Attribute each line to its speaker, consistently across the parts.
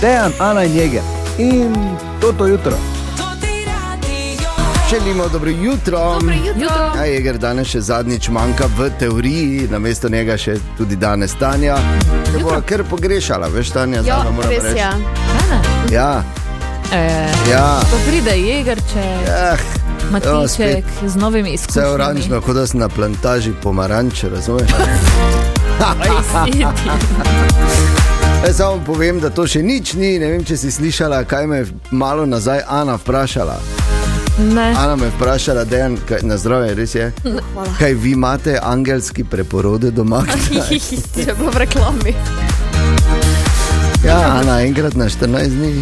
Speaker 1: Dejan, Ana in Jeger in toto jutro.
Speaker 2: Želimo dobro jutro.
Speaker 3: Dobro jutro.
Speaker 2: Ja, Jeger danes še zadnjič manjka v teoriji, namesto njega še tudi danes Tanja. Te bo kar pogrešala, veš, Tanja,
Speaker 3: Jo,
Speaker 2: zdaj moram
Speaker 3: res
Speaker 2: reči.
Speaker 3: je.
Speaker 2: Ja,
Speaker 4: Eh,
Speaker 2: ja.
Speaker 4: pa pride jegerče,
Speaker 2: Eh,
Speaker 4: matiček z novimi
Speaker 2: vse je
Speaker 4: izkušnjami.
Speaker 2: oranžno, kot da sem na plantaži pomaranče, razumeš? Jaz samo povem, da to še nič ni. Ne vem, če si slišala, kaj me je malo nazaj Ana vprašala.
Speaker 4: Ne,
Speaker 2: Ana me je vprašala, da je na zdravje, res je. Kaj vi imate angelski preporode doma?
Speaker 4: Ja.
Speaker 3: Če bo v reklami.
Speaker 2: Ja, Ana, enkrat na 14 dni,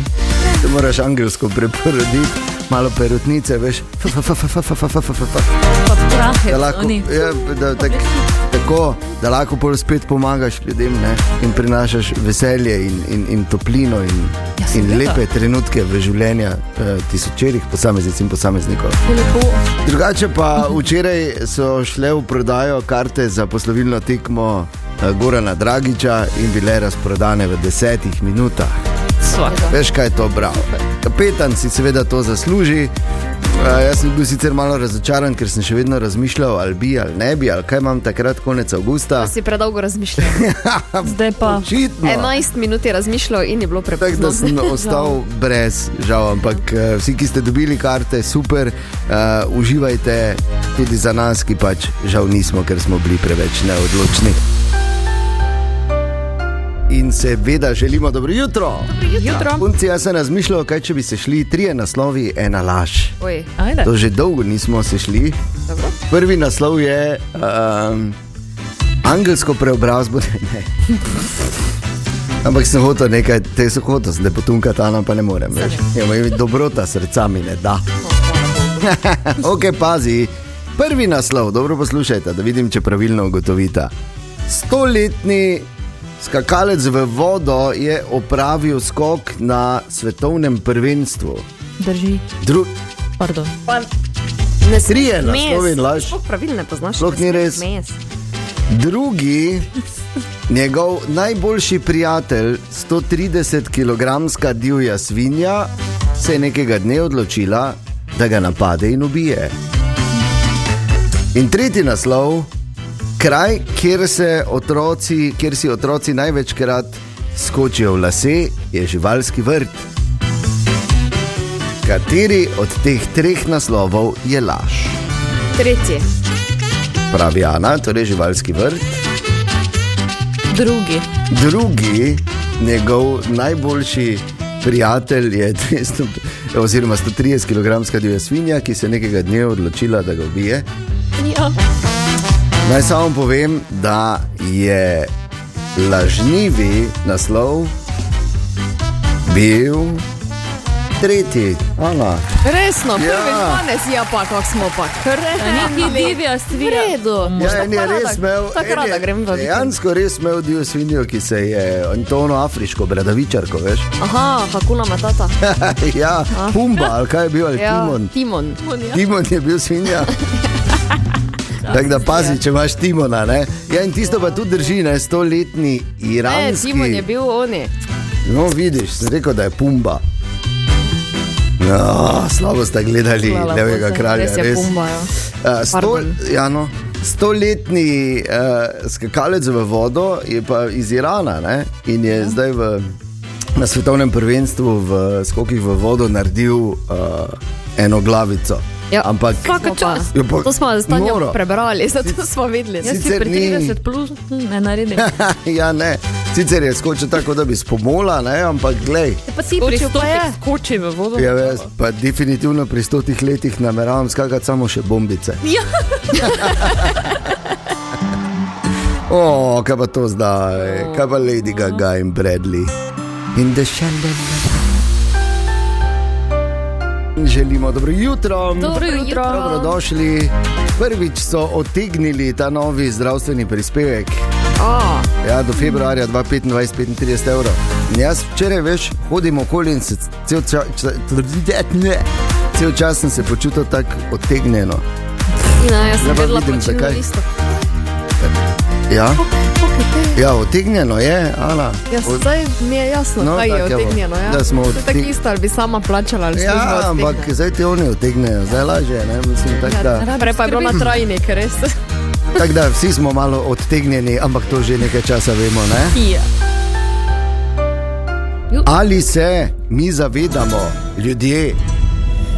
Speaker 2: ti moraš angelsko preporoditi, malo perutnice, veš, fa, fa, fa, fa, fa, fa, fa, fa, fa, fa, fa.
Speaker 4: pa prahe,
Speaker 2: da lahko,
Speaker 4: oni.
Speaker 2: ja, da, tak, tako, da lahko pol spet pomagaš ljudem ne? in prinašaš veselje in, in, in toplino in,
Speaker 4: Ja,
Speaker 2: in
Speaker 4: seveda.
Speaker 2: lepe trenutke v življenju eh, tisočerih posameznic in posameznikov. Drugače pa včeraj so šle v prodajo karte za poslovilno tekmo eh, Gorana Dragiča in bile razprodane v desetih minutah.
Speaker 4: Svak.
Speaker 2: Veš, kaj je to bravo. Kapetan si seveda to zasluži. Uh, jaz sem bil sicer malo razočaran, ker sem še vedno razmišljal, ali bi ali ne bi, ali kaj imam takrat konec avgusta.
Speaker 3: Si predolgo razmišljal.
Speaker 4: Zdaj pa
Speaker 2: Očitno.
Speaker 3: 11 minut je razmišljal in je bilo
Speaker 2: No. Tako da sem
Speaker 3: prepoznavno.
Speaker 2: ostal brez žal, ampak eh, vsi, ki ste dobili karte, super, uh, uživajte tudi za nas, ki pač žal nismo, ker smo bili preveč neodločni. In seveda želimo dobro jutro. Ja,
Speaker 3: Jutro.
Speaker 2: Punci, jaz sem razmišljal, kaj če bi se šli trije naslovi, ena laž.
Speaker 3: Oj,
Speaker 4: ajde.
Speaker 2: To že dolgo nismo se šli.
Speaker 3: dobro.
Speaker 2: Prvi naslov je um, angelsko preobrazbo. Ne. Ampak sem hotel nekaj, te so hotel, zdaj potunka ta nam pa ne morem. veš. Ja, moj dobrota srca mi ne da. ok, pazi. Prvi naslov, dobro poslušajte, da vidim, če pravilno ugotovite. Stoletni skakalec v vodo je opravil skok na svetovnem prvenstvu.
Speaker 4: Drži,
Speaker 2: Dru
Speaker 4: pardon.
Speaker 3: Ne
Speaker 2: Trije
Speaker 3: smeš.
Speaker 2: naslovi in laž.
Speaker 3: Sploh pravilne poznaš.
Speaker 2: Sploh ni res.
Speaker 3: Mes.
Speaker 2: Drugi, njegov najboljši prijatelj, 130-kilogramska divja svinja, se je nekega dne odločila, da ga napade in ubije. In tretji naslov, kraj, kjer, se otroci, kjer si otroci največkrat skočijo v lase, je živalski vrt. Kateri od teh treh naslovov je laž?
Speaker 3: Tretji.
Speaker 2: Pravi Ana, torej živalski vrt.
Speaker 4: Drugi,
Speaker 2: Drugi, njegov najboljši prijatelj je 200, oziroma 130 kg divja svinja, ki se je nekega dne odločila, da ga ubije.
Speaker 3: Ja.
Speaker 2: Naj samo povem, da je lažnivi naslov bil tretji. Ana.
Speaker 3: Resno, prvi
Speaker 2: Ja.
Speaker 3: danes, ja pa kako smo pa.
Speaker 4: neki
Speaker 3: Krehni.
Speaker 4: divja
Speaker 3: V
Speaker 4: stvar.
Speaker 3: redu.
Speaker 2: Ja, en je res imel,
Speaker 3: Tako
Speaker 2: en
Speaker 3: rada
Speaker 2: je
Speaker 3: grem v vikend.
Speaker 2: dejansko res imel divjo svinjo, ki se je, in to ono afriško, bradavičarko, veš.
Speaker 3: Aha, Hakuna Matata.
Speaker 2: ja, Pumba, ali kaj je bil, ali ja. Timon.
Speaker 3: Timon.
Speaker 2: Timon je bil svinja. Tako da pazi, če imaš Timona. Ne? Ja, in tisto pa tudi drži, ne stoletni
Speaker 3: Ne,
Speaker 2: iranski.
Speaker 3: Timon je bil oni.
Speaker 2: No, vidiš, sem rekel, da je Pumba. No, slabo ste gledali,
Speaker 3: Hvala,
Speaker 2: levega
Speaker 3: Bože,
Speaker 2: kralja.
Speaker 3: Res je
Speaker 2: res.
Speaker 3: bombajo.
Speaker 2: Eh, sto,
Speaker 3: Pardon.
Speaker 2: ja, no, stoletni uh, skakalec v vodo je pa iz Irana ne? in je ja. zdaj v, na svetovnem prvenstvu v skokih v vodo naredil uh, eno glavico.
Speaker 3: Ja,
Speaker 2: Ampak
Speaker 3: Vsaka čas.
Speaker 2: Ja, pa- Ja.
Speaker 3: To smo z Tanjo
Speaker 2: Noro.
Speaker 3: prebrali, zato smo vedeli.
Speaker 4: Jaz si
Speaker 2: Sicer
Speaker 4: pri
Speaker 2: ni-
Speaker 4: 30 plus hm, ne naredim.
Speaker 2: ja, ne. Sicer je skočil tako, da bi spomola, ne? ampak glej.
Speaker 3: Pa si
Speaker 4: skoči v vodo.
Speaker 2: Ja, jaz pa definitivno pri stotih letih nameravam skakati samo še bombice.
Speaker 4: Ja.
Speaker 2: o, kaj pa to zdaj, kaj pa Lady Gaga in Bradley in The Shandon. Želimo dobro jutro.
Speaker 4: Dobro jutro.
Speaker 2: Dobrodošli. Prvič so otegnili ta novi zdravstveni prispevek. Ja, do februarja 2025-35 evrov. In Jaz včeraj veš, hodim okoli in se cel čas, "Eh, ne, cel čas sem se počutil tako otegnjeno.
Speaker 3: Ja, jaz sem
Speaker 2: Zdaj pa
Speaker 3: gledala
Speaker 2: vidim,
Speaker 3: plačilno
Speaker 2: zakaj.
Speaker 3: listo.
Speaker 2: Ja,
Speaker 3: Okej,
Speaker 2: ja otegnjeno je, Ana.
Speaker 3: Ja,
Speaker 2: Od-
Speaker 3: zdaj mi je jasno,
Speaker 2: No,
Speaker 3: kaj je
Speaker 2: tako je bilo.
Speaker 3: otegnjeno. Ja?
Speaker 2: Da smo
Speaker 3: Saj
Speaker 2: odteg-
Speaker 3: tako isto, ali bi sama plačala ali
Speaker 2: Ja,
Speaker 3: služba
Speaker 2: ampak
Speaker 3: odtegne.
Speaker 2: zdaj ti oni otegnejo, zdaj lažje, ne mislim tako
Speaker 3: Ja,
Speaker 2: da.
Speaker 4: Rada
Speaker 3: Prej pa je bilo na
Speaker 4: skrbi.
Speaker 3: trajnik, res.
Speaker 2: Tako da vsi smo malo odtegnjeni, ampak to že nekaj časa vemo. Ne?
Speaker 4: Ja.
Speaker 2: Ali se mi zavedamo, ljudje,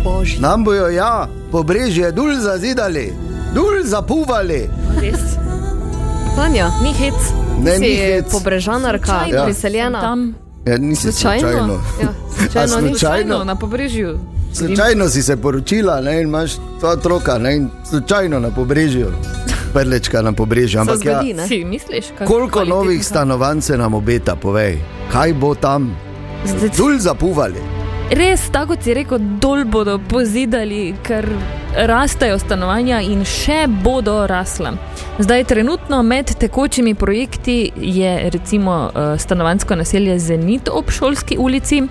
Speaker 3: Božji.
Speaker 2: nam bojo ja, pobrežje dul zazidali, dul zapuvali.
Speaker 3: Tanja,
Speaker 4: Ni hec.
Speaker 2: Ne, ni
Speaker 3: si
Speaker 2: hec.
Speaker 3: pobrežanarka,
Speaker 4: Slučajno.
Speaker 2: Ja.
Speaker 3: priseljena.
Speaker 4: Tam.
Speaker 2: Ja, nisi
Speaker 3: Slučajno.
Speaker 2: slučajno.
Speaker 3: Ja,
Speaker 2: A
Speaker 3: slučajno ni.
Speaker 2: Slučajno?
Speaker 4: na pobrežju.
Speaker 2: Slučajno si se poročila ne, in imaš dva otroka, ne, in slučajno na pobrežju, prlečka na pobrežju. Ampak
Speaker 3: zgodi,
Speaker 2: ja,
Speaker 3: ne?
Speaker 4: Si misliš, kako
Speaker 2: koliko novih stanovanj se nam obeta, povej, kaj bo tam, dul zapuvali.
Speaker 4: Res, tako kot si rekel, dol bodo pozidali, ker rastejo stanovanja in še bodo rasla. Zdaj, trenutno med tekočimi projekti je recimo eh, stanovansko naselje Zenit ob Šolski ulici.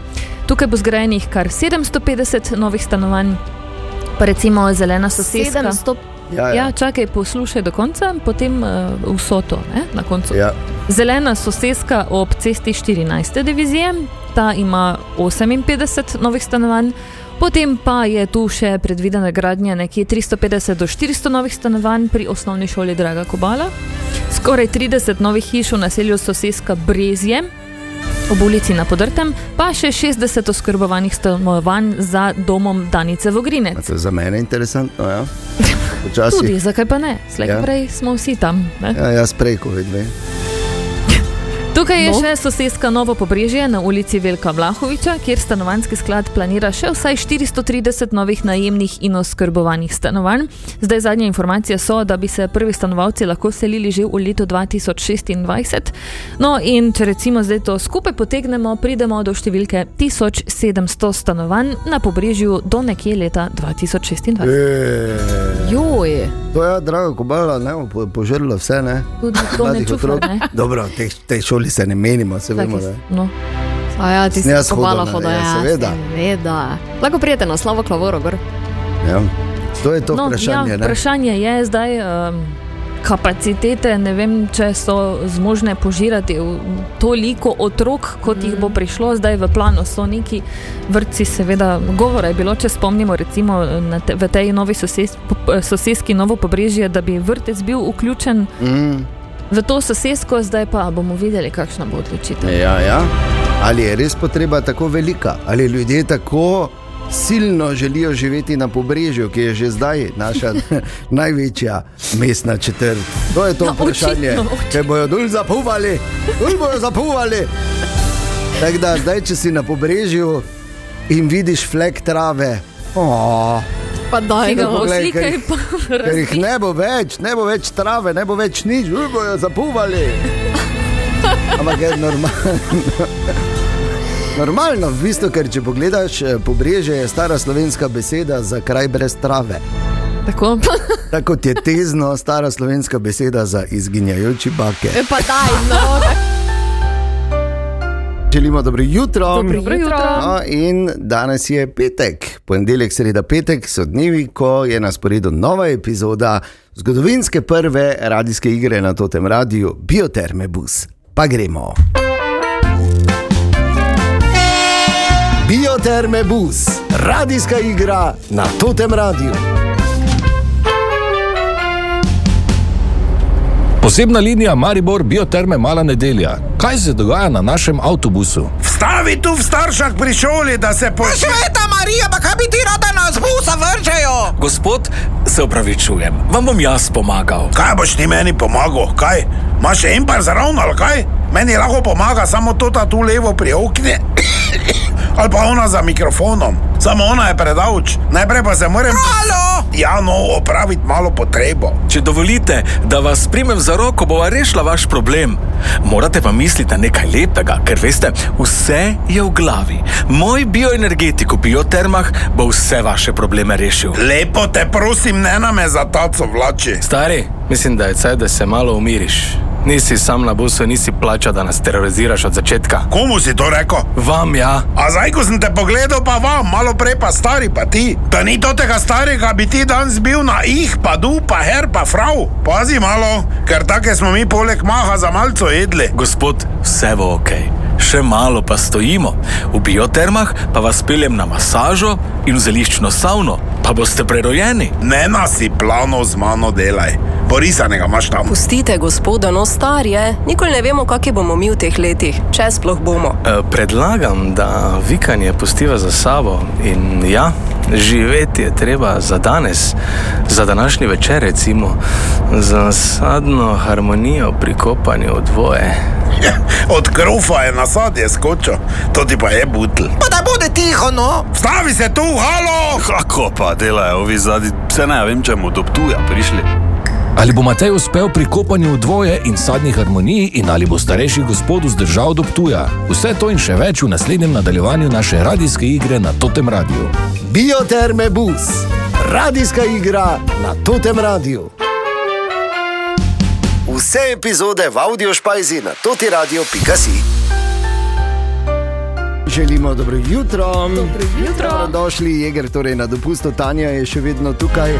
Speaker 4: Tukaj bo zgrajenih kar 750 novih stanovanj, pa recimo zelena sosedska.
Speaker 3: 700
Speaker 4: Ja, čakaj, poslušaj do konca, potem uh, vso to ne, na koncu.
Speaker 2: Ja.
Speaker 4: Zelena soseska ob cesti 14. divizije, ta ima 58 novih stanovanj, potem pa je tu še predvidena gradnja nekje 350 do 400 novih stanovanj pri osnovni šoli Draga Kobala, skoraj 30 novih hiš v naselju soseska Brezje. Ob ulici na Podrtem pa še 60 oskrbovanih stanovanj za domom Danice Vogrinec.
Speaker 2: To je za mene interesantno. Ja. Počasi.
Speaker 4: Tudi, zakaj pa ne? Slej,
Speaker 2: Ja.
Speaker 4: ja. prej smo vsi tam. Ne?
Speaker 2: Ja, jaz prej, ko vidim.
Speaker 4: Tukaj je
Speaker 3: No.
Speaker 4: no. še sosedska Novo Pobrežje na ulici Velika Vlahoviča, kjer stanovanski sklad planira še vsaj 430 novih najemnih in oskrbovanih stanovanj. Zdaj zadnje informacije so, da bi se prvi stanovalci lahko selili že v letu 2026. No in če recimo zdaj to skupaj potegnemo, pridemo do številke 1700 stanovanj na Pobrežju do nekje leta 2026.
Speaker 2: E.
Speaker 3: Joj,
Speaker 2: To je drago, ko bala, ne bo po- požrlo vse. Ne?
Speaker 4: Tudi to ne
Speaker 2: Mladih
Speaker 4: čutim.
Speaker 2: otrok. Dobro, v tej, tej šoli se ne menimo, se vemo. Ne?
Speaker 4: No.
Speaker 3: a ja, ti si
Speaker 2: Jaz hodim
Speaker 3: kopala
Speaker 2: na-
Speaker 3: hoda,
Speaker 2: ja,
Speaker 3: ja,
Speaker 2: seveda.
Speaker 3: seveda. Lahko prijete na slavo klavoro, gor.
Speaker 2: Ja. To je to
Speaker 4: no,
Speaker 2: vprašanje.
Speaker 4: ja,
Speaker 2: ne?
Speaker 4: vprašanje je zdaj. Um, Kapacitete, ne vem, če so zmožne požirati v- toliko otrok, kot mm. jih bo prišlo zdaj v planu. So neki vrtci, seveda, govora je bilo, če spomnimo, recimo na te, v tej novi soseski, soseski Novo Pobrežje, da bi vrtec bil vključen
Speaker 2: Mm,
Speaker 4: v to sosesko, zdaj pa bomo videli, kakšna bo odločitev.
Speaker 2: ja, ja. Ali je res potreba tako velika, ali ljudje tako silno želijo živeti na pobrežju, ki je že zdaj naša največja mestna četrt. To je to
Speaker 4: No,
Speaker 2: vprašanje.
Speaker 4: očitno, očitno.
Speaker 2: Če bojo dol zapuvali, dol bojo zapuvali. Tako da zdaj, če si na pobrežju in vidiš flek trave. Oh,
Speaker 3: Pa daj ga.
Speaker 4: Tega
Speaker 2: Tako,
Speaker 4: bo
Speaker 2: poglej, ker
Speaker 4: slikaj,
Speaker 2: jih-
Speaker 4: pa
Speaker 2: ker
Speaker 4: razmišljaj.
Speaker 2: jih ne bo več, ne bo več trave, ne bo več nič, dol bojo zapuvali. Ampak je normalno. Normalno, v bistvu, ker če pogledaš, eh, pobrežje je stara slovenska beseda za kraj brez trave.
Speaker 4: Tako.
Speaker 2: Tako kot je tezno stara slovenska beseda za izginjajoči bake.
Speaker 3: E, Pa daj, no.
Speaker 2: Želimo dobro jutro.
Speaker 4: Dobro jutro.
Speaker 2: No, in danes je petek, ponedeljek, sreda, petek so dnevi, ko je na sporedu nova epizoda zgodovinske prve radijske igre na totem radiju Bioterme Bus. Pa gremo. Bioterme Bus, radijska igra na totem radiju.
Speaker 5: Posebna linija Maribor Bioterme Mala nedelja. Kaj se dogaja na našem avtobusu?
Speaker 6: Stavi tu v staršah pri šoli, da se po...
Speaker 7: Sveta Marija, pa Ja, kaj bi ti rada nas busa vržejo?
Speaker 8: Gospod, se upravičujem, vam bom jaz pomagal.
Speaker 6: Kaj boš ti meni pomagal, kaj? Imaš še en par zaravno, ali kaj? Meni lahko pomaga samo to, da tu levo pri okne. ali pa ona za mikrofonom. Samo ona je predavč, najprej pa se moram...
Speaker 7: Alo!
Speaker 6: Ja, no, opraviti malo potrebo.
Speaker 8: Če dovolite, da vas primem za roko, bova rešila vaš problem. Morate pa misliti na nekaj lepega, ker veste, vse je v glavi. Moj bioenergetik v biotermah bo vse vaše probleme rešil.
Speaker 6: Lepo te prosim, ne na me za taco vlači.
Speaker 8: Stari, mislim, da je caj, da se malo umiriš. Nisi sam na busu, nisi plačal, da nas teroriziraš od začetka.
Speaker 6: Komu si to rekel?
Speaker 8: Vam ja.
Speaker 6: A zdaj, ko sem te pogledal, pa vam, malo prej pa stari, pa ti. Da ni to tega starega, bi ti danes bil na ih, pa du, pa her, pa frau. Pazi malo, ker take smo mi poleg maha za malco jedli.
Speaker 8: Gospod, vse bo ok. Še malo pa stojimo. V biotermah pa vas peljem na masažo in v zeliščno savno, pa boste prerojeni.
Speaker 6: Ne nasi plano z mano delaj. Porisanega imaš tam.
Speaker 9: Pustite, gospoda, no star je. Nikoli ne vemo, kakšni bomo mi v teh letih, če sploh bomo.
Speaker 8: E, Predlagam, da vikanje pustiva za sabo in ja, živeti je treba za danes, za današnji večer, recimo, za sadno harmonijo pri kopanju v dvoje.
Speaker 6: Od krufa je nasad je skočil, to ti pa je butl.
Speaker 7: Pa da bude tiho, no.
Speaker 6: Stavi se tu, halo!
Speaker 10: Kako pa delajo ovi zadnji, se ne vem, če mu do tuja prišli.
Speaker 5: Ali bo Matej uspel pri kopanju v dvoje in sadni harmoniji, in ali bo starejši gospod vzdržal do tuja? Vse to in še več v naslednjem nadaljevanju naše radijske igre na Totem Radiu.
Speaker 2: Bioterme Bus, radijska igra na Totem Radiu. Vse epizode v audio špajzi na totiradio.si. Želimo dobro jutro. Dobro jutro. Dobrodošli, Jeger, torej na dopustu. Tanja je še vedno tukaj.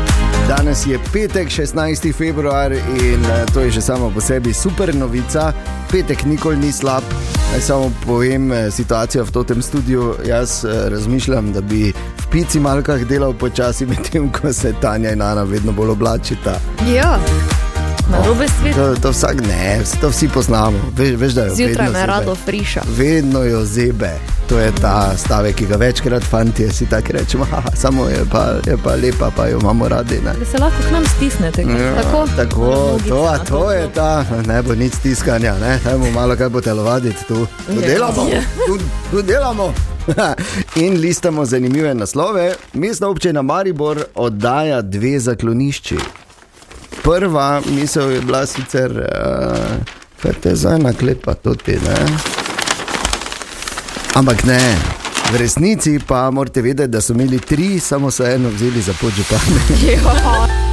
Speaker 2: Danes je petek, 16. februar in eh, to je že samo po sebi super novica. Petek nikoli ni slab. Naj samo povem eh, situacijo v tem studiu. Jaz eh, razmišljam, da bi v pici malkah delal počasi, medtem ko se Tanja in Ana vedno bolj oblačita.
Speaker 3: Ja,
Speaker 4: Na robe svet.
Speaker 2: To, to vsak ne, to vsi poznamo. Veš, veš, da jo
Speaker 3: zjutraj
Speaker 2: Ja, vedno
Speaker 3: me
Speaker 2: zebe.
Speaker 3: rado friša.
Speaker 2: Vedno jo zebe. To je ta stavek, ki ga večkrat fanti si tako rečemo. "Haha, Samo je pa, je pa lepa, pa jo imamo radi. Ne?
Speaker 4: Da se lahko k nam stisnete. Ja, tako,
Speaker 2: Tako, to, a to je ta, ne bo nič tiskanja, ne bomo malo kaj potelovaditi tu. Tu delamo, tu, tu delamo. In listamo zanimive naslove. Mestna občina Maribor oddaja dve zaklonišči. Prva misel je bila sicer, uh, kaj te zdaj naklepa tudi, ne? Ampak ne. V resnici pa morate vedeti, da so imeli tri, samo so eno vzeli za podžupane.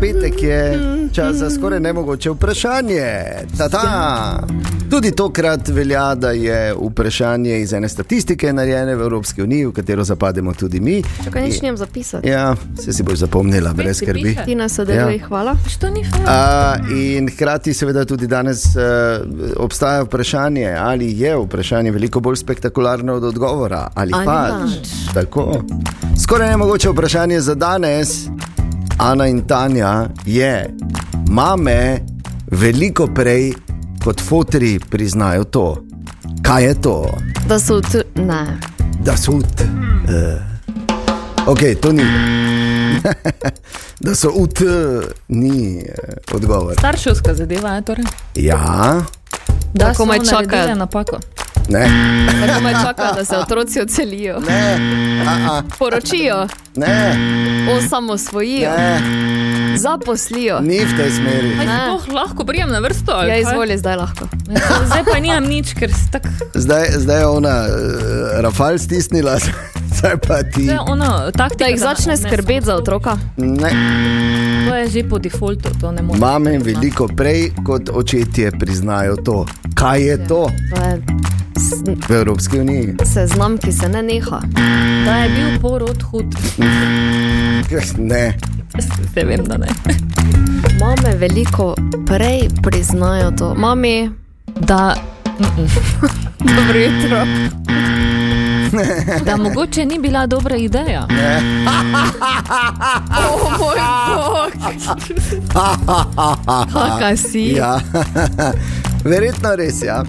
Speaker 2: Petek je čas za skoraj nemogoče vprašanje. Ta-ta. Tudi tokrat velja, da je vprašanje iz ene statistike narejene v Evropski uniji, v katero zapademo tudi mi.
Speaker 3: Čakaj, nič njem zapisati.
Speaker 2: Ja, vse si boš zapomnila, brez
Speaker 4: si
Speaker 2: skrbi.
Speaker 4: piše.
Speaker 3: Ti nas sodeluje,
Speaker 2: Ja.
Speaker 3: hvala.
Speaker 4: Što Pač ni fair.
Speaker 2: A, in hkrati, seveda, tudi danes uh, obstaja vprašanje, ali je vprašanje veliko bolj spektakularno od odgovora, ali
Speaker 3: Ali
Speaker 2: pač. Tako. Skoraj nemogoče vprašanje za danes, Ana in Tanja, je: Mame veliko prej kot fotri priznajo to. Kaj je to?
Speaker 3: Da so tu, ne.
Speaker 2: Da so ut. Uh, ok, to ni. da so ut, ni eh, odgovor.
Speaker 4: Starševska zadeva je torej.
Speaker 2: Ja,
Speaker 4: Da,
Speaker 3: Tako
Speaker 4: so
Speaker 3: me čaka.
Speaker 4: naredile napako.
Speaker 2: ne,
Speaker 3: Tako me čaka, da se otroci ocelijo,
Speaker 2: ne, a, a,
Speaker 3: poročijo,
Speaker 2: ne,
Speaker 3: osamosvojijo,
Speaker 2: ne,
Speaker 3: zaposlijo.
Speaker 2: ni v tej smeri.
Speaker 4: Aj,
Speaker 3: Ne.
Speaker 4: sploh lahko prijem na vrsto. ali
Speaker 3: Ja,
Speaker 4: kaj?
Speaker 3: izvoli zdaj lahko.
Speaker 4: Zdaj pa nimam nič, ker si tak.
Speaker 2: Zdaj, zdaj je ona uh, rafal stisnila, zdaj pa ti.
Speaker 4: To je ono, taktika,
Speaker 3: Da jih začne
Speaker 4: ne- ne-
Speaker 3: skrbeti za otroka.
Speaker 2: Ne.
Speaker 4: To je že po defaultu, to ne moreš. no.
Speaker 2: Mame veliko prej kot očetje priznajo to. Kaj je to
Speaker 3: To je s-
Speaker 2: v Evropski uniji?
Speaker 3: seznam, ki se ne neha.
Speaker 4: Da je bil porod hud.
Speaker 2: Ne,
Speaker 4: Se vem, da ne.
Speaker 3: Mame veliko prej priznajo to. Mami,
Speaker 4: Da,
Speaker 3: dobro jutro.
Speaker 4: da mogoče ni bila dobra ideja.
Speaker 3: O moj bog. Taka si.
Speaker 2: ja. Verjetno res, ja.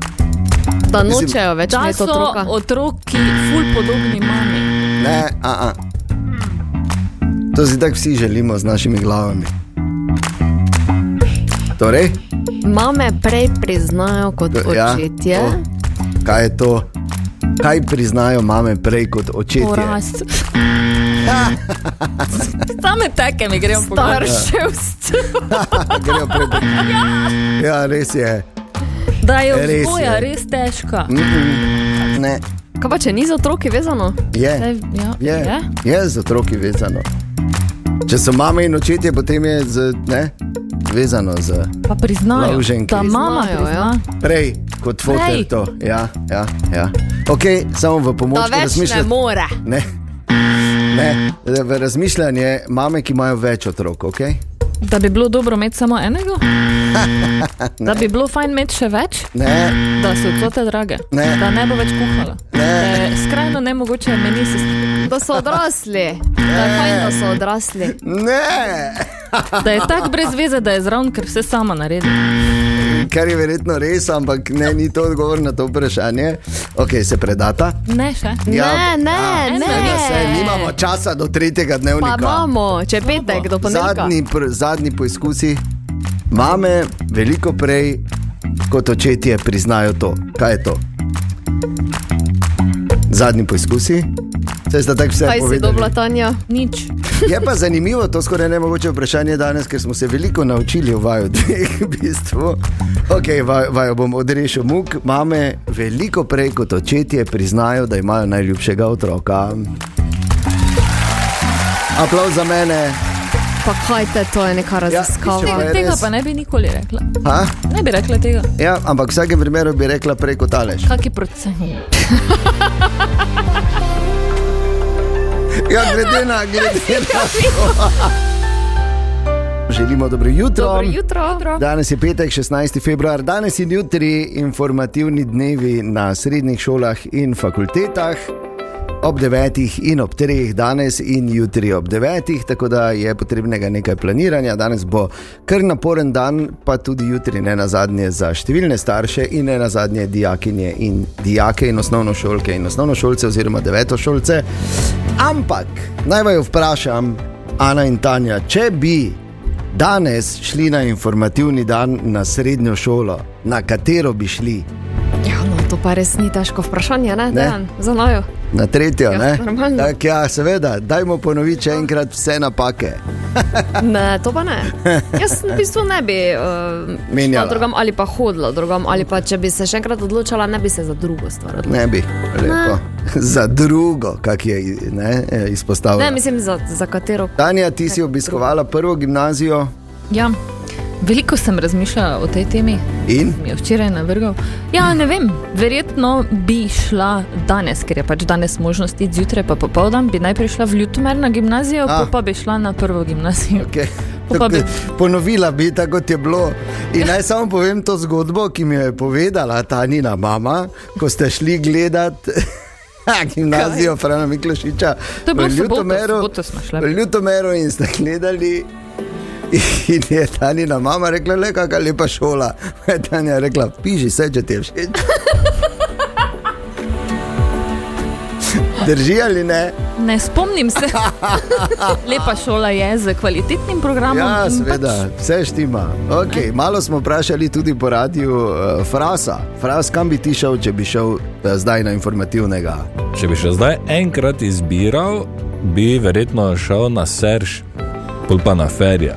Speaker 3: Da nočejo več
Speaker 4: Da
Speaker 3: imeti
Speaker 4: so
Speaker 3: otroka.
Speaker 4: otroki ful podobni mami.
Speaker 2: Ne, a, a. To si tako vsi želimo z našimi glavami. Torej,
Speaker 3: Mame prej priznajo kot
Speaker 2: ja,
Speaker 3: očetje.
Speaker 2: to. kaj je to? Kaj priznajo mame prej kot očetje?
Speaker 4: Porast. Same take mi gremo po glavi.
Speaker 3: Starševstvo.
Speaker 2: Grejo prej kot- Ja, res je.
Speaker 4: Da je
Speaker 2: Res je. Mm.
Speaker 4: vzgoja res težka.
Speaker 2: Ne,
Speaker 3: Kaj pa če ni z otroki vezano?
Speaker 2: je.
Speaker 4: Zdaj, ja,
Speaker 2: Je,
Speaker 4: je.
Speaker 2: je z otroki vezano. Če so mame in očetje, potem je z. Ne? vezano z
Speaker 4: Pa priznajo,
Speaker 2: Lovženki.
Speaker 4: da mama
Speaker 3: Znajo, ja.
Speaker 4: prizna.
Speaker 2: prej kot fotor.
Speaker 4: Prej.
Speaker 2: to. Ja, ja, ja. Ok, samo v pomoč,
Speaker 3: Da več ne more.
Speaker 2: Ne. Ne, v razmišljanje mame, ki imajo več otrok, ok?
Speaker 4: Da bi bilo dobro imeti samo enega? da bi bilo fajn imeti še več?
Speaker 2: Ne,
Speaker 4: Da so odsote drage,
Speaker 2: Ne.
Speaker 4: da ne bo več kuhala. Da je Skrajno nemogoče, meni se zdi,
Speaker 3: Da so odrasli. Da je fajn, da so odrasli.
Speaker 2: ne,
Speaker 4: da je tako brez veze, da je zraven, ker vse sama naredi.
Speaker 2: kar je verjetno res, ampak ne, ni to odgovor na to vprašanje. Ok, se predata. Ja,
Speaker 4: Ne še.
Speaker 3: Ne,
Speaker 2: a,
Speaker 3: ne,
Speaker 2: seveda Se,
Speaker 3: ne.
Speaker 2: nimamo časa do tretjega
Speaker 3: Pa
Speaker 2: dnevnika.
Speaker 3: imamo, če petek do ponedeljka.
Speaker 2: zadnji, pr, zadnji poizkusi mame, veliko prej kot očetje, priznajo to. Kaj je to? Zadnji poizkusi. Saj sta tako vse
Speaker 3: Kaj si
Speaker 2: povedali.
Speaker 3: dobila, Tanja?
Speaker 4: Nič.
Speaker 2: Je pa zanimivo, to skoraj ne mogoče vprašanje danes, ker smo se veliko naučili o vaju dveh. V bistvu. okay, vaju, vaju bom odrešil muk. Mame veliko prej kot očetje priznajo, da imajo najljubšega otroka. Aplauz za mene.
Speaker 3: Pa kaj te, to je neka
Speaker 2: mislim,
Speaker 3: raziskava.
Speaker 2: da je-
Speaker 4: Tega, tega pa ne bi nikoli rekla.
Speaker 2: Ha?
Speaker 4: Ne bi rekla tega.
Speaker 2: Ja, ampak v vsakem primeru bi rekla prej kot Aleš.
Speaker 4: Kaki procent?
Speaker 2: Ja, glede na, glede na to. Želimo dobro jutro.
Speaker 3: Dobro jutro. Dobro.
Speaker 2: Danes je petek, 16. februar, danes in jutri informativni dnevi na srednjih šolah in fakultetah. Ob 9 in ob 3 danes in jutri ob 9, tako da je potrebnega nekaj planiranja. Danes bo kar naporen dan, pa tudi jutri, ne na zadnje, za številne starše in ne na zadnje dijakinje in dijake in osnovnošolke in osnovnošolce oziroma devetošolce. Ampak naj vaju vprašam, Ana in Tanja, če bi Danes šli na informativni dan na srednjo šolo, na katero bi šli,
Speaker 3: Ja, no, to pa res ni težko vprašanje, ne, Dejan? Za nojo.
Speaker 2: na tretjo,
Speaker 3: Ja,
Speaker 2: ne?
Speaker 3: normalno. No.
Speaker 2: Tak, ja, seveda, dajmo ponoviti še enkrat vse napake.
Speaker 3: Ne, to pa ne. Jaz v bistvu ne bi uh,
Speaker 2: Menjala.
Speaker 3: šla drugam ali pa hodila drugam, ali pa če bi se še enkrat odločila, ne bi se za drugo stvar odločila.
Speaker 2: Ne bi,
Speaker 3: No.
Speaker 2: lepo. Za drugo, kak je ne, e, izpostavljeno.
Speaker 3: Ne, mislim, za, za katero.
Speaker 2: Tanja, ti si obiskovala prvo gimnazijo
Speaker 4: Ja. Veliko sem razmišljala o tej temi,
Speaker 2: in
Speaker 4: mi je včeraj navrgal. Ja, ne vem, verjetno bi šla danes, ker je pač danes možnost iti zjutraj, pa popoldan bi najprej šla v Ljutomer na gimnazijo,
Speaker 2: Ah.
Speaker 4: ah. pa bi šla na prvo gimnazijo.
Speaker 2: Okay.
Speaker 4: Pa
Speaker 2: Tako,
Speaker 4: bi-
Speaker 2: ponovila bi tako, kot je bilo. In naj samo povem to zgodbo, ki mi jo je povedala ta njena mama, ko ste šli gledati. Gimnazijo Frana Miklošiča
Speaker 4: To je bilo
Speaker 2: v
Speaker 4: v soboto,
Speaker 2: Ljutomeru,
Speaker 4: v soboto smo šli.
Speaker 2: v Ljutomeru in ste gledali. In je Tanja mama rekla, le kakšna lepa šola. Pa Je Tanja rekla, piši se, če ti je všeč. Drži ali ne?
Speaker 4: Ne spomnim se. Lepa šola je z kvalitetnim programom.
Speaker 2: Ja,
Speaker 4: in pač
Speaker 2: seveda, vse štima. Okay, malo smo vprašali tudi po radiju uh, Frasa. Fras, kam bi ti šel, če bi šel uh, zdaj na informativnega?
Speaker 5: Če bi še zdaj enkrat izbiral, bi verjetno šel na Serž, pol pa na Ferija.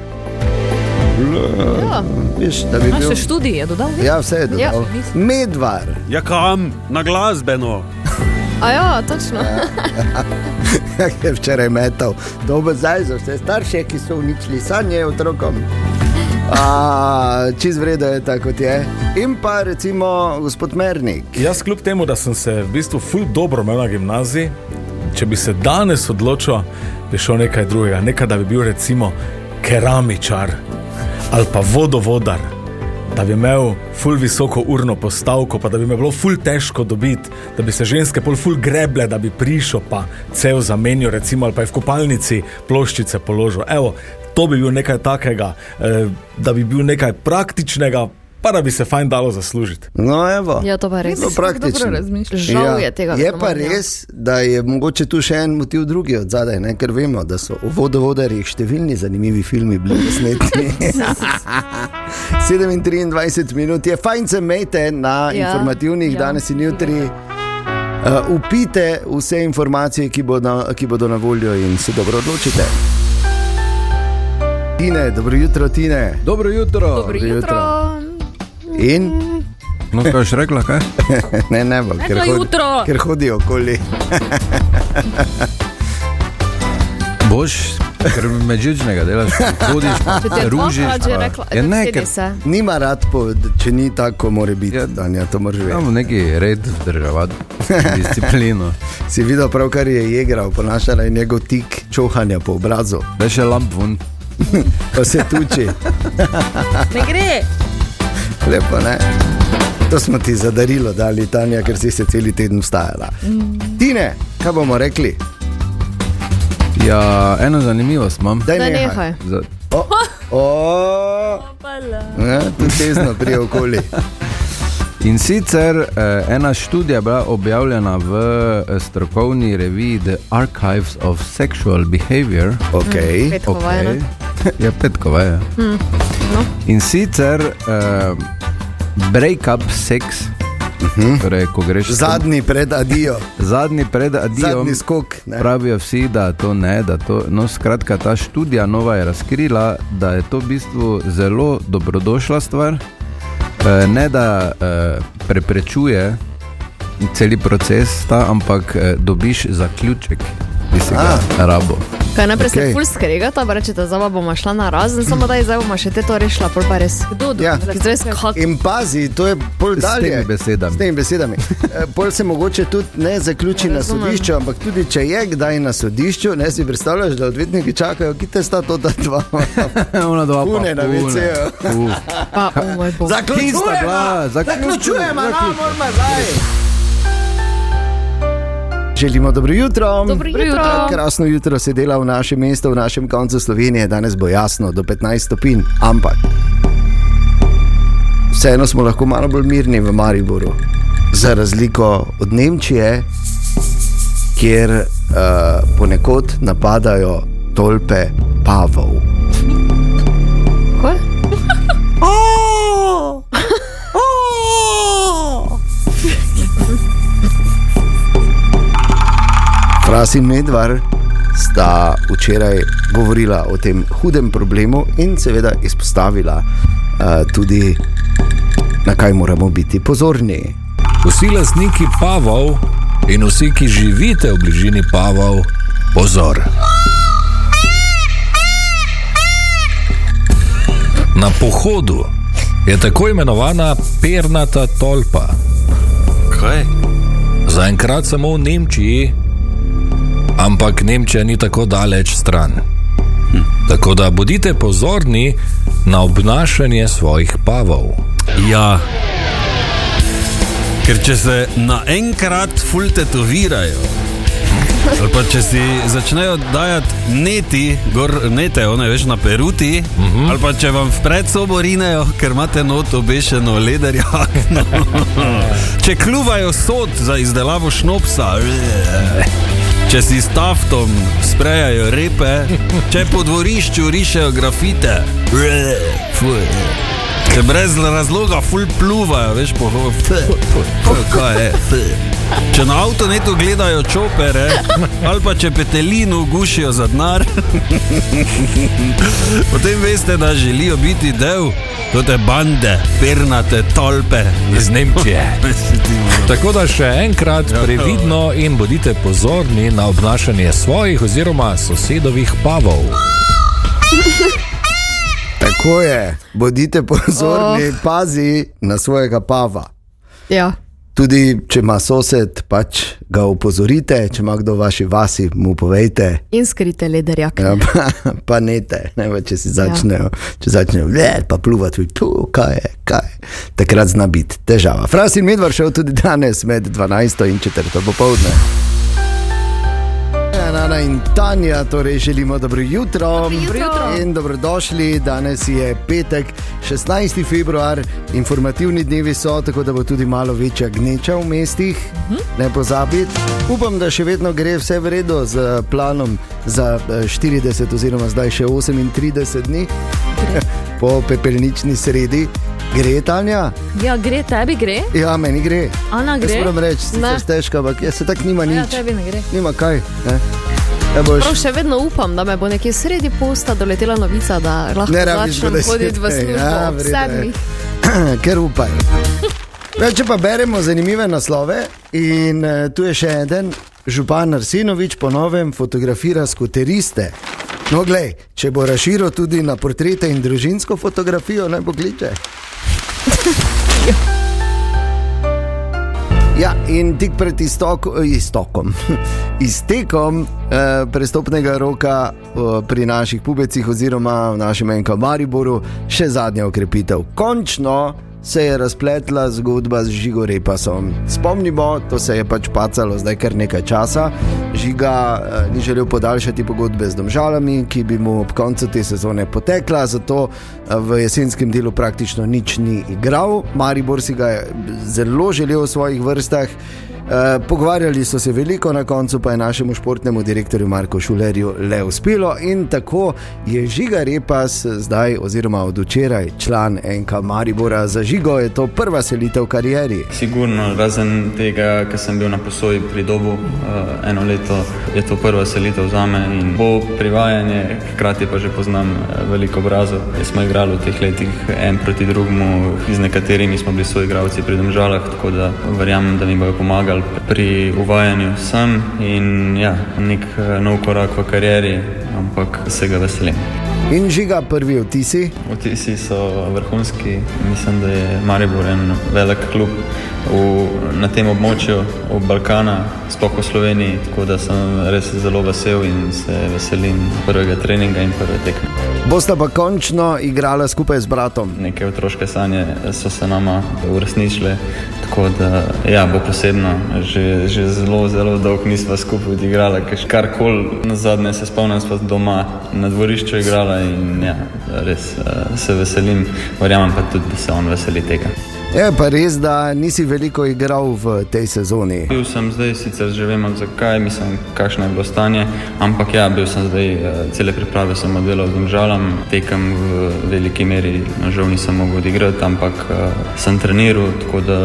Speaker 2: Viš, da bi
Speaker 4: Pač,
Speaker 2: bil...
Speaker 4: naše študije dodal.
Speaker 2: Ja, vse je
Speaker 3: Ja.
Speaker 2: dobro. Medvar,
Speaker 10: Ja, kam? Na glasbeno.
Speaker 3: A ja, točno.
Speaker 2: kak je včeraj metal, dober zdaj za vse starše, ki so uničili sanje otrokom. A, čez vredo je tako, kot je. In pa recimo gospod Mernik.
Speaker 11: Jaz kljub temu, da sem se v bistvu ful dobro imel na gimnaziji, če bi se danes odločil, bi šel nekaj drugega, nekaj da bi bil recimo keramičar ali pa vodovodar. Da bi imel ful visoko urno postavko, pa da bi me bilo ful težko dobiti, da bi se ženske pol ful greble, da bi prišel pa cel zamenjal, recimo, ali pa je v kopalnici ploščice položil. Evo, to bi bil nekaj takega, eh, da bi bil nekaj praktičnega, pa da bi se fajn dalo zaslužiti.
Speaker 2: No, evo.
Speaker 3: Ja, to pa res.
Speaker 2: Zelo praktično. Ja.
Speaker 4: Dobro razmišljaš.
Speaker 3: Žal je tega
Speaker 2: Je
Speaker 3: zelo
Speaker 2: pa
Speaker 3: malo, ja.
Speaker 2: res, da je mogoče tu še en motiv drugi od zadaj, ne? ker vemo, da so o vodovodarjih številni zanimivi filmi bili posneti. 27 minut je fajn, se mejte na
Speaker 3: Ja,
Speaker 2: informativnih
Speaker 3: ja.
Speaker 2: danes in jutri. Uh, upite vse informacije, ki, bo na, ki bodo na voljo, in se dobro odločite. Tine, dobro jutro, Tine.
Speaker 1: Dobro jutro.
Speaker 3: Dobro jutro.
Speaker 2: In
Speaker 1: No, kaj si rekla, kaj?
Speaker 2: ne, ne bo, ker,
Speaker 4: Rekla jutro.
Speaker 2: ker hodijo okoli.
Speaker 1: Boš Ker medžičnega delaš, hodiš, pa
Speaker 3: Če ti je
Speaker 1: ružiš.
Speaker 3: dvakrat že
Speaker 1: pa-
Speaker 3: rekla,
Speaker 1: Ja,
Speaker 3: da
Speaker 1: ne,
Speaker 3: sedi
Speaker 1: ker
Speaker 3: se.
Speaker 2: Nima rad, po, če ni tako, mora biti. Ja, Danja, to moraš vedeti.
Speaker 1: imamo neki red vzdrževati, disciplino.
Speaker 2: si videl pravkar je jegral, ponašala je njegov tik čohanja po obrazu.
Speaker 1: Da še lamp vun.
Speaker 2: pa se tuči.
Speaker 3: Ne gre.
Speaker 2: Lepo, ne? To smo ti zadarilo, dali Tanja, ker si se cel teden vstajala. Tine, kaj bomo rekli?
Speaker 1: Ja, eno zanimivost imam.
Speaker 2: Daj Daj nehaj. nehaj.
Speaker 1: Za-
Speaker 2: O, o, ne, tudi tezno prije okoli.
Speaker 1: In sicer eh, ena študija je bila objavljena v eh, strokovni reviji The Archives of Sexual Behavior.
Speaker 2: Okay.
Speaker 3: Mm, petkova je, ne?
Speaker 1: ja, petkova je.
Speaker 3: Hm. No.
Speaker 1: In sicer eh, break-up seks. Uh -huh. torej, ko greš
Speaker 2: Mhm. Zadnji pred adijo.
Speaker 1: Zadnji pred adijo.
Speaker 2: Zadnji skok, ne.
Speaker 1: Pravijo vsi, da to ne. Da to, no, skratka, ta študija nova je razkrila, da je to v bistvu zelo dobrodošla stvar. Eh, Ne da eh, preprečuje cel proces, ta, ampak eh, dobiš zaključek, ki si ga rabo.
Speaker 3: Kaj najprej okay. se ful skregata, pa rečete, zdaj bomo šla na razen, samo da je zdaj bomo še te to rešila, pol pa res. Kdo
Speaker 2: Ja.
Speaker 3: Zdaj se kak.
Speaker 2: In pazi, to je bolj
Speaker 1: S
Speaker 2: dalje.
Speaker 1: temi besedami.
Speaker 2: S temi besedami. E, Pol se mogoče tudi ne zaključi na
Speaker 3: Razumem.
Speaker 2: sodišču, ampak tudi če je kdaj na sodišču, ne si predstavljaš, da odvetniki čakajo, ki te sta to ta dva.
Speaker 1: Ona dva pa
Speaker 2: Pune na ja.
Speaker 1: pune.
Speaker 2: WC-ju.
Speaker 1: Uf.
Speaker 3: Pa, o moj bog.
Speaker 1: Tista bila,
Speaker 2: Zaključujemo, no,
Speaker 1: zaključujemo, zaključujemo.
Speaker 2: moramo zdaj. Želimo dobro jutro.
Speaker 3: Dobro jutro. Dobro jutro.
Speaker 2: Krasno jutro se dela v našem mestu, v našem koncu Slovenije. Danes bo jasno, do 15 stopinj, ampak vseeno smo lahko malo bolj mirni v Mariboru, za razliko od Nemčije, kjer uh, ponekod napadajo tolpe pavov.
Speaker 3: Kaj?
Speaker 2: Fras in Medvar sta včeraj govorila o tem hudem problemu in seveda izpostavila uh, tudi, na kaj moramo biti pozorni.
Speaker 5: Vsi lastniki pavov in vsi, ki živite v bližini pavov, pozor. Na pohodu je tako imenovana pernata tolpa. Kaj? Zaenkrat samo v Nemčiji, ampak Nemčija ni tako daleč stran. Hm. Tako da bodite pozorni na obnašanje svojih pavov.
Speaker 10: Ja. Ker če se naenkrat fultetovirajo, ali pa če si začnejo dajati neti, gor nete, one veš na peruti, uh -huh. ali pa če vam v predsobo rinejo, ker imate not obešeno lederjakno, če kljuvajo sod za izdelavo šnopsa, eh, če si s taftom sprejajo repe, če po dvorišču rišejo grafite, eh, fuj. Če brez razloga ful pluvajo, veš, po hobi. Če na avtonetu gledajo čopere, ali pa če petelino gušijo za denar, potem veste, da želijo biti del te bande, pernate tolpe
Speaker 5: iz Nemčije. Tako da še enkrat
Speaker 10: Ja,
Speaker 5: previdno in bodite pozorni na obnašanje svojih oziroma sosedovih pavov.
Speaker 2: Tako je, bodite pozorni, oh. pazi na svojega pava.
Speaker 3: Ja.
Speaker 2: Tudi če ima sosed, pač ga opozorite, če ima kdo v vaši vasi, mu povejte.
Speaker 3: In skrite lederjak.
Speaker 2: Ja, pa, pa ne te, ne pa, če si začnejo, ja. če začnejo vlet, pa pluvati tu, kaj je, kaj je. Takrat zna biti težava. Fras in Medvar šel tudi danes med 12 in 4 popovdne. Ana Ja, in Tanja, torej želimo dobro jutro. Dobro jutro. In dobrodošli, danes je petek, 16. februar, informativni dnevi so, tako da bo tudi malo večja gneča v mestih. Ne pozabite. Upam, da še vedno gre vse v redu z planom za eh, 40, oziroma zdaj še 38 dni po pepelnični sredi. Gre, Tanja?
Speaker 4: Ja, gre tebi, gre?
Speaker 2: Ja, meni gre.
Speaker 4: Ana
Speaker 2: Jaz
Speaker 4: gre?
Speaker 2: moram reči, da
Speaker 4: Ne.
Speaker 2: si težka, ampak jaz se tako nima
Speaker 4: Ja,
Speaker 2: nič.
Speaker 4: tebi ne gre.
Speaker 2: Nima kaj. Ne? Ne boš,
Speaker 3: Prav še vedno upam, da me bo nekje sredi posta doletela novica, da lahko
Speaker 2: ne rabiš
Speaker 3: začnem
Speaker 2: besed.
Speaker 3: hoditi v službo
Speaker 2: Ja,
Speaker 3: ja,
Speaker 2: v
Speaker 3: ob
Speaker 2: redu je.
Speaker 3: sedmih.
Speaker 2: Ker upaj. Ja, če pa beremo zanimive naslove, in eh, tu je še en, župan Arsinovič ponovem fotografira skuteriste. No, glej, če bo raširil tudi na portrete in družinsko fotografijo, naj bo kliče. Ja, in tik pred iztok, iztokom, iztekom eh, prestopnega roka eh, pri naših pubecih, oziroma v našem enka Mariboru, še zadnja okrepitev. Končno se je razpletla zgodba z Žigo Repasom. Spomnimo, to se je pač pacalo zdaj kar nekaj časa. Žiga eh, ni želel podaljšati pogodbe z domžalami, ki bi mu ob koncu te sezone potekla, zato eh, v jesenskem delu praktično nič ni igral. Maribor si ga je zelo želel v svojih vrstah. Eh, Pogovarjali so se veliko, na koncu pa je našemu športnemu direktorju Marku Šulerju le uspelo in tako je Žiga Repas zdaj, oziroma od včeraj, član NK Maribora. Za Žigo je to prva selitev v karieri.
Speaker 12: Sigurno, razen tega, ker sem bil na posoji pri dobu eh, eno leto, je to prva selitev za me in bo privajanje, hkrati pa že poznam eh, veliko obrazov. Smo igrali v teh letih en proti drugemu, z nekaterimi smo bili soigralci pri Domžalah, tako da verjamem, da mi bodo pomagali pri uvajanju sem in ja, nek eh, nov korak v karieri, ampak se ga veselim.
Speaker 2: In žiga prvi vtisi.
Speaker 12: Vtisi so vrhunski, mislim, da je Maribor en velik klub v, na tem območju v Balkana, sploh v Sloveniji, tako da sem res zelo vesel in se veselim prvega treninga in prve tekme.
Speaker 2: Bosta pa končno igrala skupaj z bratom.
Speaker 12: Neke otroške sanje eh, so se nama uresničile, tako da ja, bo posebno. Že, že zelo, zelo dolgo nismo skupaj odigrali, kar koli na zadnje se spomnim, smo doma na dvorišču igrali in ja, res eh, se veselim, verjamem pa tudi, da se on veseli tega.
Speaker 2: Je pa res, da nisi veliko igral v tej sezoni.
Speaker 12: Bil sem zdaj, sicer že vemo zakaj, mislim, kakšno je bilo stanje, ampak ja, bil sem zdaj, eh, cele priprave sem oddelal z domžalam, tekem v veliki meri, žal nisem mogel odigrati, ampak eh, sem treniral, tako da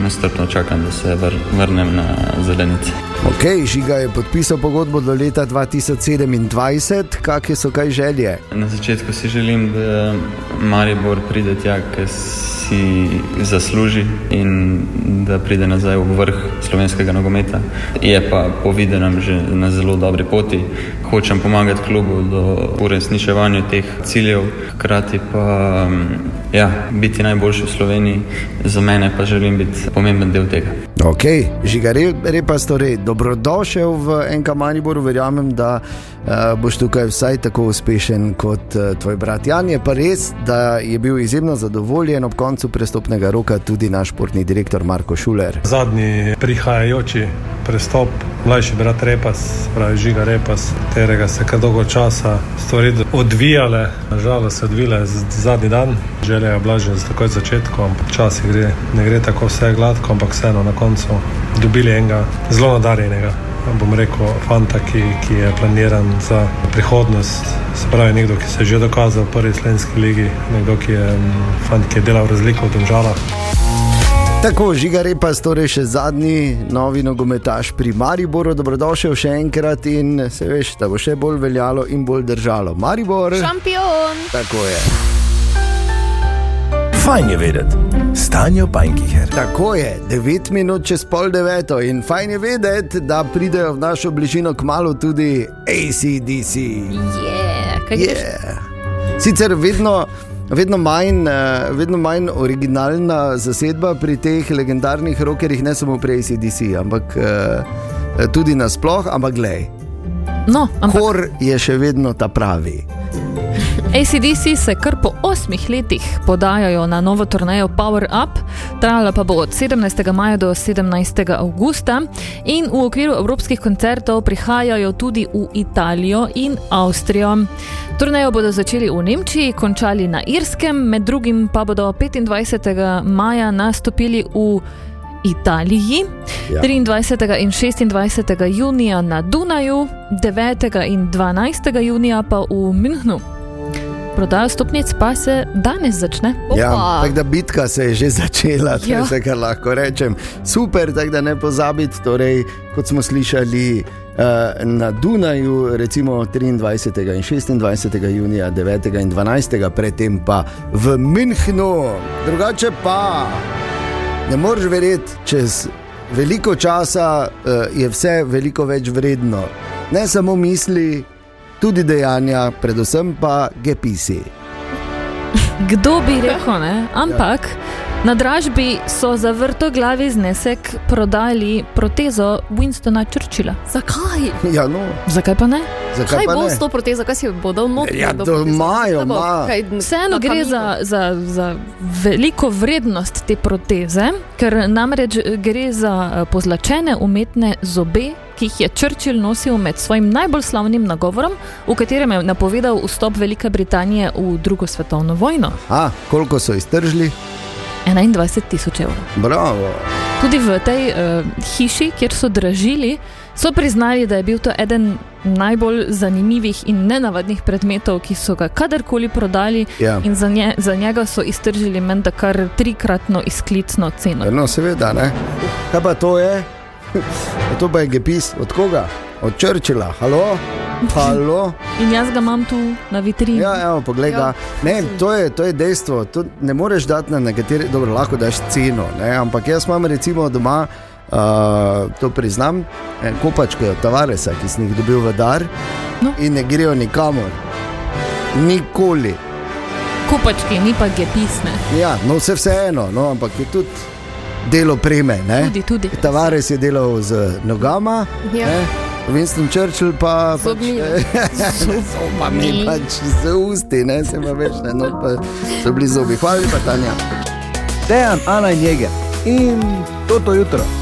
Speaker 12: nestrpno čakam, da se vr vrnem na zelenice.
Speaker 2: Ok, žiga je podpisal pogodbo do leta 2027, kakšne so kaj želje.
Speaker 12: Na začetku si želim, da Maribor pride tja, ki si zasluži in da pride nazaj v vrh slovenskega nogometa. Je pa po videnem že na zelo dobri poti. Hočem pomagati klubu do uresničevanja teh ciljev, hkrati pa mm, ja, biti najboljši v Sloveniji, za mene pa želim biti pomemben del tega.
Speaker 2: Ok, žiga Re- repas, torej dobrodošel v enka Mariboru, verjamem, da uh, boš tukaj vsaj tako uspešen kot uh, tvoj brat Jan. Je pa res, da je bil izjemno zadovoljen ob koncu prestopnega roka tudi naš športni direktor Marko Šuler.
Speaker 13: Zadnji prihajajoči prestop, mlajši brat Repas, pravi Žiga Repas, katerega se kar dolgo časa stvari odvijale, nažalost se odvile z- zadnji dan. Želja je bila že takoj na začetku, ampak včasih gre, ne gre tako vse gladko, ampak vseeno na koncu dobili enega zelo nadarjenega. Bom rekel, fanta, ki, ki je planiran za prihodnost, se pravi, nekdo, ki se je že dokazal v prvi slovenski legi, nekdo, ki je, mm, fant, ki je delal razliko v Domžalah.
Speaker 2: Tako, žiga repas, torej še zadnji novi nogometaš pri Mariboru, dobrodošel še enkrat in se veš, da bo še bolj veljalo in bolj držalo. Maribor.
Speaker 3: Šampion!
Speaker 2: Tako je.
Speaker 14: Fajn je vedeti, stanje Pajnkiher.
Speaker 2: Tako je, 9 minut čez pol deveto in fajn je vedeti, da pridejo v našo bližino kmalo tudi ACDC.
Speaker 4: Yeah, kaj greš?
Speaker 2: yeah. Sicer vedno. Vedno manj, eh, vedno manj originalna zasedba pri teh legendarnih rokerjih, ne samo pri ACDC, ampak eh, tudi nasploh, ampak glej.
Speaker 4: No, ampak...
Speaker 2: Kor je še vedno ta pravi.
Speaker 4: ACDC se kar po osmih letih podajajo na novo turnejo Power Up, trajala pa bo od 17. maja do 17. augusta in v okviru evropskih koncertov prihajajo tudi v Italijo in Avstrijo. Turnejo bodo začeli v Nemčiji, končali na Irskem, med drugim pa bodo 25. maja nastopili v Italiji,
Speaker 15: Ja.
Speaker 4: ja. 23. in 26. junija na Dunaju, 9. in 12. junija pa v Münchnu. Prodaja stopnic pa se danes začne.
Speaker 2: Ja, tako da bitka se je že začela, to je
Speaker 4: Ja.
Speaker 2: vse, kar lahko rečem. Super, tako da ne pozabite, torej, kot smo slišali eh, na Dunaju, recimo 23. in 26. junija, 9. in 12. predtem pa v Münchnu, drugače pa ne moreš verjeti čez veliko časa eh, je vse veliko več vredno. Ne samo misli, tudi dejanja, predvsem pa gepisi.
Speaker 4: Kdo bi rekel, ne? Ampak na dražbi so za vrto glavi znesek prodali protezo Winstona Churchilla.
Speaker 3: Zakaj?
Speaker 2: Ja, no.
Speaker 4: Zakaj pa ne?
Speaker 3: Kaj bo s to protezo, kaj si bo dal noter?
Speaker 2: Ja,
Speaker 3: do
Speaker 2: to
Speaker 3: proteze?
Speaker 2: imajo,
Speaker 3: Kaj bo?
Speaker 2: ima.
Speaker 3: Kaj,
Speaker 4: Vseeno
Speaker 3: na
Speaker 4: gre
Speaker 3: kamino?
Speaker 4: za, za, za veliko vrednost te proteze, ker namreč gre za eh, pozlačene umetne zobe, ki jih je Churchill nosil med svojim najbolj slavnim nagovorom, v katerem je napovedal vstop Velike Britanije v drugo svetovno vojno.
Speaker 2: A, koliko so iztržili?
Speaker 4: 21 tisoč evrov.
Speaker 2: Bravo.
Speaker 4: Tudi v tej uh, hiši, kjer so dražili, so priznali, da je bil to eden najbolj zanimivih in nenavadnih predmetov, ki so ga kadarkoli prodali,
Speaker 2: Ja.
Speaker 4: in za, nje, za njega so iztržili menda kar trikratno izklicno ceno.
Speaker 2: No, seveda, ne. Kaj pa to je? E, To pa je gepis od koga? Od Črčila, halo? halo?
Speaker 4: In jaz ga imam tu na vitrini.
Speaker 2: Ja, evo, poglej ga. Ne, to je, to je dejstvo. To ne moreš dati na nekatere, dobro, lahko daš ceno, ne? ampak jaz imam recimo doma, uh, to priznam, eh, kopačke od Tavaresa, ki sem jih dobil v dar
Speaker 4: no.
Speaker 2: in ne grejo nikamor. Nikoli.
Speaker 4: Kupački, ni pa gepisne.
Speaker 2: Ja, no vse vseeno, no, ampak je tudi delo preme. ne.
Speaker 4: Tudi, tudi.
Speaker 2: Tavares je delal z nogama,
Speaker 3: Ja.
Speaker 2: ne, Winston Churchill pa pač,
Speaker 3: Zobmi.
Speaker 2: zobami, pač z usti, ne se pa več ne, no pa so bili zobi. Hvala lepa, Tanja.
Speaker 15: Dejan, Ana in Jeger in toto jutro.